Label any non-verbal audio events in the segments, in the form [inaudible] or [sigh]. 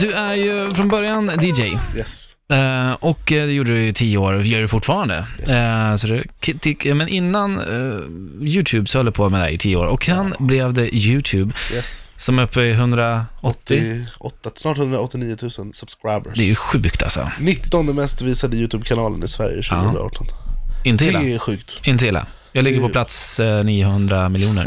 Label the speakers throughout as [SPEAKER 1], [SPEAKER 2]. [SPEAKER 1] Du är ju från början DJ.
[SPEAKER 2] Yes.
[SPEAKER 1] Eh, och eh, det gjorde du i tio år och gör det fortfarande. Eh, så det, k- tick- men innan eh, YouTube så höll du på med det här i tio år och sen blev det YouTube
[SPEAKER 2] Yes.
[SPEAKER 1] som är uppe i 180.
[SPEAKER 2] Det är åtta, snart 189 000 subscribers.
[SPEAKER 1] Det är ju sjukt alltså.
[SPEAKER 2] 19 mest visade YouTube-kanalen i Sverige 2018.
[SPEAKER 1] Inte illa.
[SPEAKER 2] Det är sjukt.
[SPEAKER 1] Inte illa. Jag ligger på plats eh, 900
[SPEAKER 2] [laughs]
[SPEAKER 1] miljoner.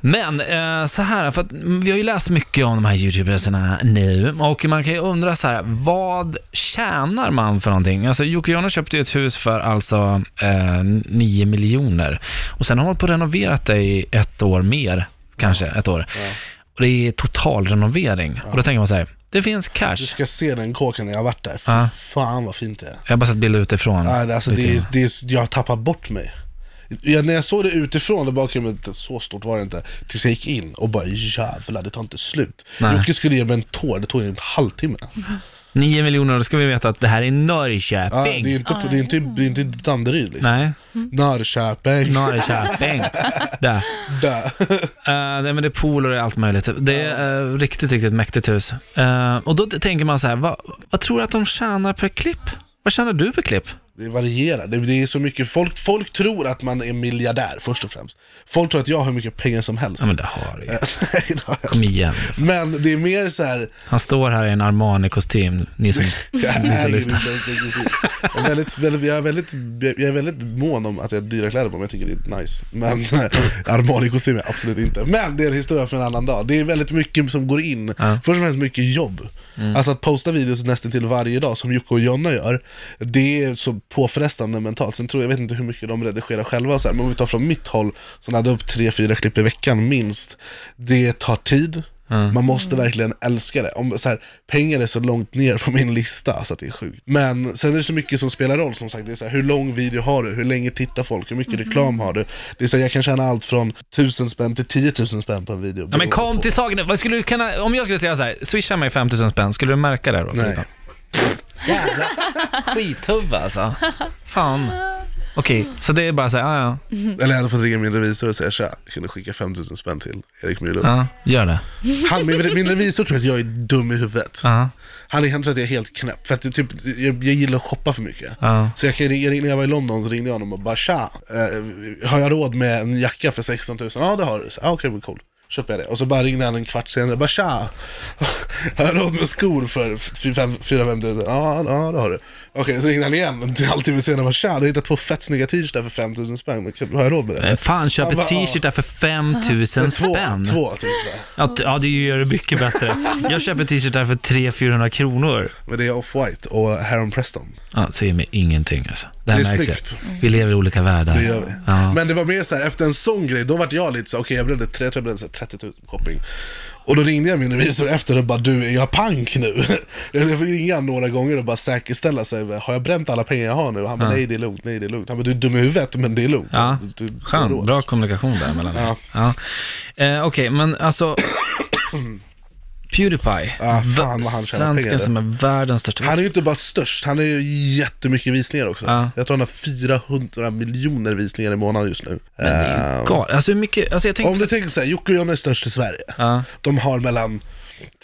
[SPEAKER 1] Men eh, så här, för att mm, vi har ju läst mycket om de här YouTube-resorna nu och man kan ju undra så här, vad tjänar man för någonting? Alltså Jocke Jonna köpte ju ett hus för alltså eh, 9 miljoner och sen har man på och renoverat det i ett år mer, kanske ett år. Och det är total renovering. Och då tänker man så här, det finns cash.
[SPEAKER 2] Du ska se den kåken när jag har varit där. Fy
[SPEAKER 1] Ja.
[SPEAKER 2] fan vad fint det är.
[SPEAKER 1] Jag har bara sett bilder utifrån.
[SPEAKER 2] Ja, det, alltså, det, är- det, är- jag har tappat bort mig. Jag, när jag såg det utifrån, det bakgrunden, så stort var det inte. Tills jag gick in och bara jävlar, det tar inte slut.
[SPEAKER 1] Nej.
[SPEAKER 2] Jocke skulle ge mig en tår, det tog en halvtimme.
[SPEAKER 1] 9 miljoner, då ska vi veta att det här är Norrköping.
[SPEAKER 2] Ja, det, är inte, på- det, är inte, det är inte Danderyd liksom.
[SPEAKER 1] Nej.
[SPEAKER 2] Norrköping.
[SPEAKER 1] Norrköping. Där.
[SPEAKER 2] Där.
[SPEAKER 1] Eh, nej men det är pool och det är allt möjligt. Det är eh, riktigt, riktigt mäktigt hus. Eh, och då t- tänker man så här, vad, vad tror du att de tjänar per klipp? Vad tjänar du per klipp?
[SPEAKER 2] Det varierar. Det, det är så mycket. Folk, folk tror att man är miljardär först och främst. Folk tror att jag har hur mycket pengar som helst.
[SPEAKER 1] Ja men det har du ju.
[SPEAKER 2] [laughs] Nej, det har jag
[SPEAKER 1] Kom igen.
[SPEAKER 2] inte. men det är mer så här,
[SPEAKER 1] Han står här i en Armani-kostym, ni som...
[SPEAKER 2] jag
[SPEAKER 1] så
[SPEAKER 2] äger inte
[SPEAKER 1] lyssnar.
[SPEAKER 2] ens en kusin. Jag är väldigt, väldigt, jag är väldigt, jag är väldigt mån om att jag har dyra kläder på mig, jag tycker det är nice. Men [laughs] Armani-kostym är jag absolut inte. Men det är en historia för en annan dag. Det är väldigt mycket som går in. Först och främst mycket jobb.
[SPEAKER 1] Mm.
[SPEAKER 2] Alltså att posta videos nästan till varje dag som Jocke och Jonna gör, det är så påfrestande mentalt. Sen tror jag, jag vet inte hur mycket de redigerar själva och så här, men om vi tar från mitt håll, så laddar jag upp tre, fyra klipp i veckan minst. Det tar tid. Man måste verkligen älska det. Om, så här, pengar är så långt ner på min lista så att det är sjukt. Men sen är det så mycket som spelar roll som sagt. Det är så här, hur lång video har du? Hur länge tittar folk? Hur
[SPEAKER 1] Mm-hmm.
[SPEAKER 2] mycket reklam har du? Det är så här, jag kan tjäna allt från 1000 spänn till 10 000 spänn på en video.
[SPEAKER 1] Ja men kom
[SPEAKER 2] Beroende
[SPEAKER 1] till saken nu. vad skulle du kunna, om jag skulle säga så här, swisha mig 5000 spänn, skulle du märka det då?
[SPEAKER 2] Nej.
[SPEAKER 1] Jävlar. Skithuvud alltså. Fan. Okej, så det är bara så här, ja ja,
[SPEAKER 2] på. Eller jag hade fått ringa min revisor och säga tja, jag kunde skicka 5000 spänn till Erik Myrlund.
[SPEAKER 1] ja, gör det.
[SPEAKER 2] Han, min, min revisor tror att jag är dum i huvudet.
[SPEAKER 1] Ja,
[SPEAKER 2] Han, är- han tror att jag är helt knäpp, för att det, typ, jag, jag gillar att shoppa för mycket.
[SPEAKER 1] ja.
[SPEAKER 2] Så jag kan ringa, när jag var i London så ringde jag honom och bara tja, eh, har jag råd med en jacka för 16 000? Ja det har du, Så, ah, okej men cool. Köper jag det. Och så bara ringde han en kvart senare och bara tja, [laughs] har jag råd med skor för 4-5 000? Ja, ja det har du. Okej, så ringde han igen en halvtimme senare och bara tja, du har hittat två fett snygga t-shirts där för 5 000 spänn, har jag råd med
[SPEAKER 1] Men
[SPEAKER 2] det?
[SPEAKER 1] Eh, Fan, köp
[SPEAKER 2] Ja,
[SPEAKER 1] ett
[SPEAKER 2] va-
[SPEAKER 1] t-shirt där för 5000
[SPEAKER 2] Två,
[SPEAKER 1] spänn.
[SPEAKER 2] två typ. t-shirtar.
[SPEAKER 1] Ja, t- ja, det gör det mycket
[SPEAKER 2] [laughs]
[SPEAKER 1] bättre. Jag köper ett t-shirt där för 300-400 kronor.
[SPEAKER 2] Men det är Off-White och Heron Preston.
[SPEAKER 1] Ja, det säger mig ingenting alltså. Det, här
[SPEAKER 2] Det är
[SPEAKER 1] märks ju.
[SPEAKER 2] snyggt.
[SPEAKER 1] Vi lever i olika världar.
[SPEAKER 2] Det gör vi.
[SPEAKER 1] Ja.
[SPEAKER 2] Men det var mer så här, efter en sån grej, då vart jag lite så här, okej jag brände, tre- jag tror jag brände så här 30 000 shopping. Och då ringde jag min revisor efter och bara, du är jag pank nu? [laughs] Jag fick ringa han några gånger och bara säkerställa sig, har jag bränt alla pengar jag har nu? Och han bara, nej det är lugnt, nej det är lugnt. Han bara, du är dum i huvudet, men det är lugnt.
[SPEAKER 1] Ja,
[SPEAKER 2] Du- du- du har
[SPEAKER 1] skön.
[SPEAKER 2] råd.
[SPEAKER 1] Bra kommunikation där mellan er.
[SPEAKER 2] Ja.
[SPEAKER 1] Ja. Eh, Okej, men
[SPEAKER 2] [coughs]
[SPEAKER 1] alltså... Pewdiepie.
[SPEAKER 2] Ja,
[SPEAKER 1] Va-
[SPEAKER 2] fan vad han tjänar pengar
[SPEAKER 1] Svensken
[SPEAKER 2] där.
[SPEAKER 1] som är världens största.
[SPEAKER 2] Han är ju inte bara störst, han är ju jättemycket visningar också.
[SPEAKER 1] Ja.
[SPEAKER 2] Jag tror han har 400 miljoner visningar i månaden just nu. Eh,
[SPEAKER 1] Gal. Alltså hur mycket, alltså jag tänker...
[SPEAKER 2] Om du tänker såhär, Jocke och Jonna är störst i Sverige.
[SPEAKER 1] Ja.
[SPEAKER 2] De har mellan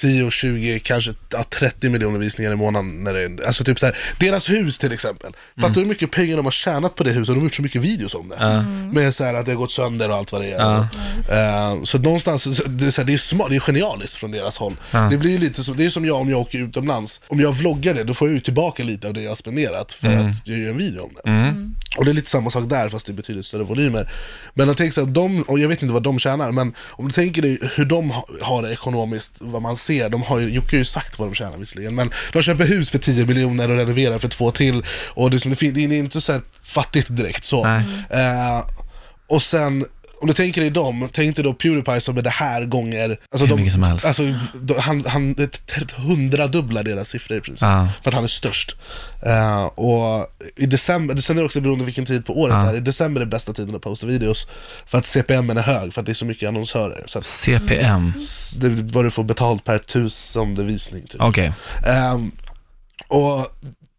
[SPEAKER 2] 10 och 20, kanske ja, 30 miljoner visningar i månaden. När det är, alltså typ så här, deras hus till exempel. Fattar du hur mycket pengar de har tjänat på det huset? De har gjort så mycket videos om det. Mm. Med så här att det har gått sönder och allt vad det är. Eh, så någonstans, så- det är, så här, det är smart, det är genialiskt från deras håll. Det blir ju lite som, det är som jag om jag åker utomlands. Om jag vloggar det, då får jag ju tillbaka lite av det jag har spenderat. För att jag gör en video om det. Och det är lite samma sak där fast i betydligt större volymer. Men jag tänker så här, de, och jag vet inte vad de tjänar, men om du tänker dig hur de ha- har det ekonomiskt, vad man ser, de har ju, Jocke har ju sagt vad de tjänar visserligen, men de köper hus för 10 miljoner och renoverar för två till. Och det är, som, det fin- det är inte så här fattigt direkt så.
[SPEAKER 1] Nej.
[SPEAKER 2] Eh, och sen, om du tänker dig dem, tänk dig då Pewdiepie som är det här gånger, alltså
[SPEAKER 1] Hur mycket som helst.
[SPEAKER 2] Alltså, då- han, han ett- ett hundradubblar deras siffror i princip.
[SPEAKER 1] Ja.
[SPEAKER 2] För att han är störst. Eh, och i december, sen är det också beroende vilken tid på året det är. I december är bästa tiden att posta videos. För att CPM är hög, för att det är så mycket annonsörer. Så att
[SPEAKER 1] CPM.
[SPEAKER 2] s- det är vad du får betalt per tusende visning typ.
[SPEAKER 1] Okej.
[SPEAKER 2] Ehm, och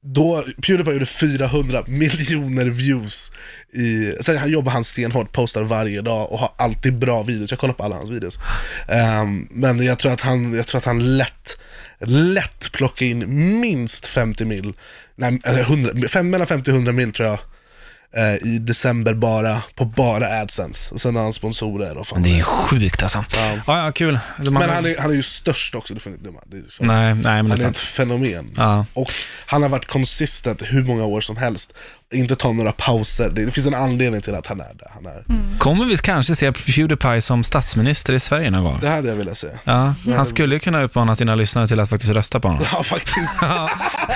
[SPEAKER 2] då, Pewdiepie gjorde 400 miljoner views i, sen han jobbar han stenhårt, postar varje dag och har alltid bra videos, jag kollar på alla hans videos. Ehm, men jag tror att han, jag tror att han lätt lätt plocka in minst 50 mil, nej, alltså 100, fem- mellan 50 och 100 mil tror jag, eh, i december bara, på bara AdSense. Och sen har han sponsorer och fan.
[SPEAKER 1] Det är ju sjukt alltså. Ja, ja, kul. De
[SPEAKER 2] Men
[SPEAKER 1] har-
[SPEAKER 2] han är, han är ju störst också, du får inte glömma. Det är så.
[SPEAKER 1] Nej, nej, men det
[SPEAKER 2] Han
[SPEAKER 1] är
[SPEAKER 2] är ett
[SPEAKER 1] sant.
[SPEAKER 2] fenomen.
[SPEAKER 1] Ja.
[SPEAKER 2] Och han har varit konsistent hur många år som helst. Inte ta några pauser. Det det finns en anledning till att han är där han är.
[SPEAKER 1] Kommer vi kanske se Pewdiepie som statsminister i Sverige någon gång?
[SPEAKER 2] Det hade jag velat se. [laughs]
[SPEAKER 1] Ja, han skulle ju kunna uppmana sina lyssnare till att faktiskt rösta på honom.
[SPEAKER 2] Ja, faktiskt.
[SPEAKER 1] Ja,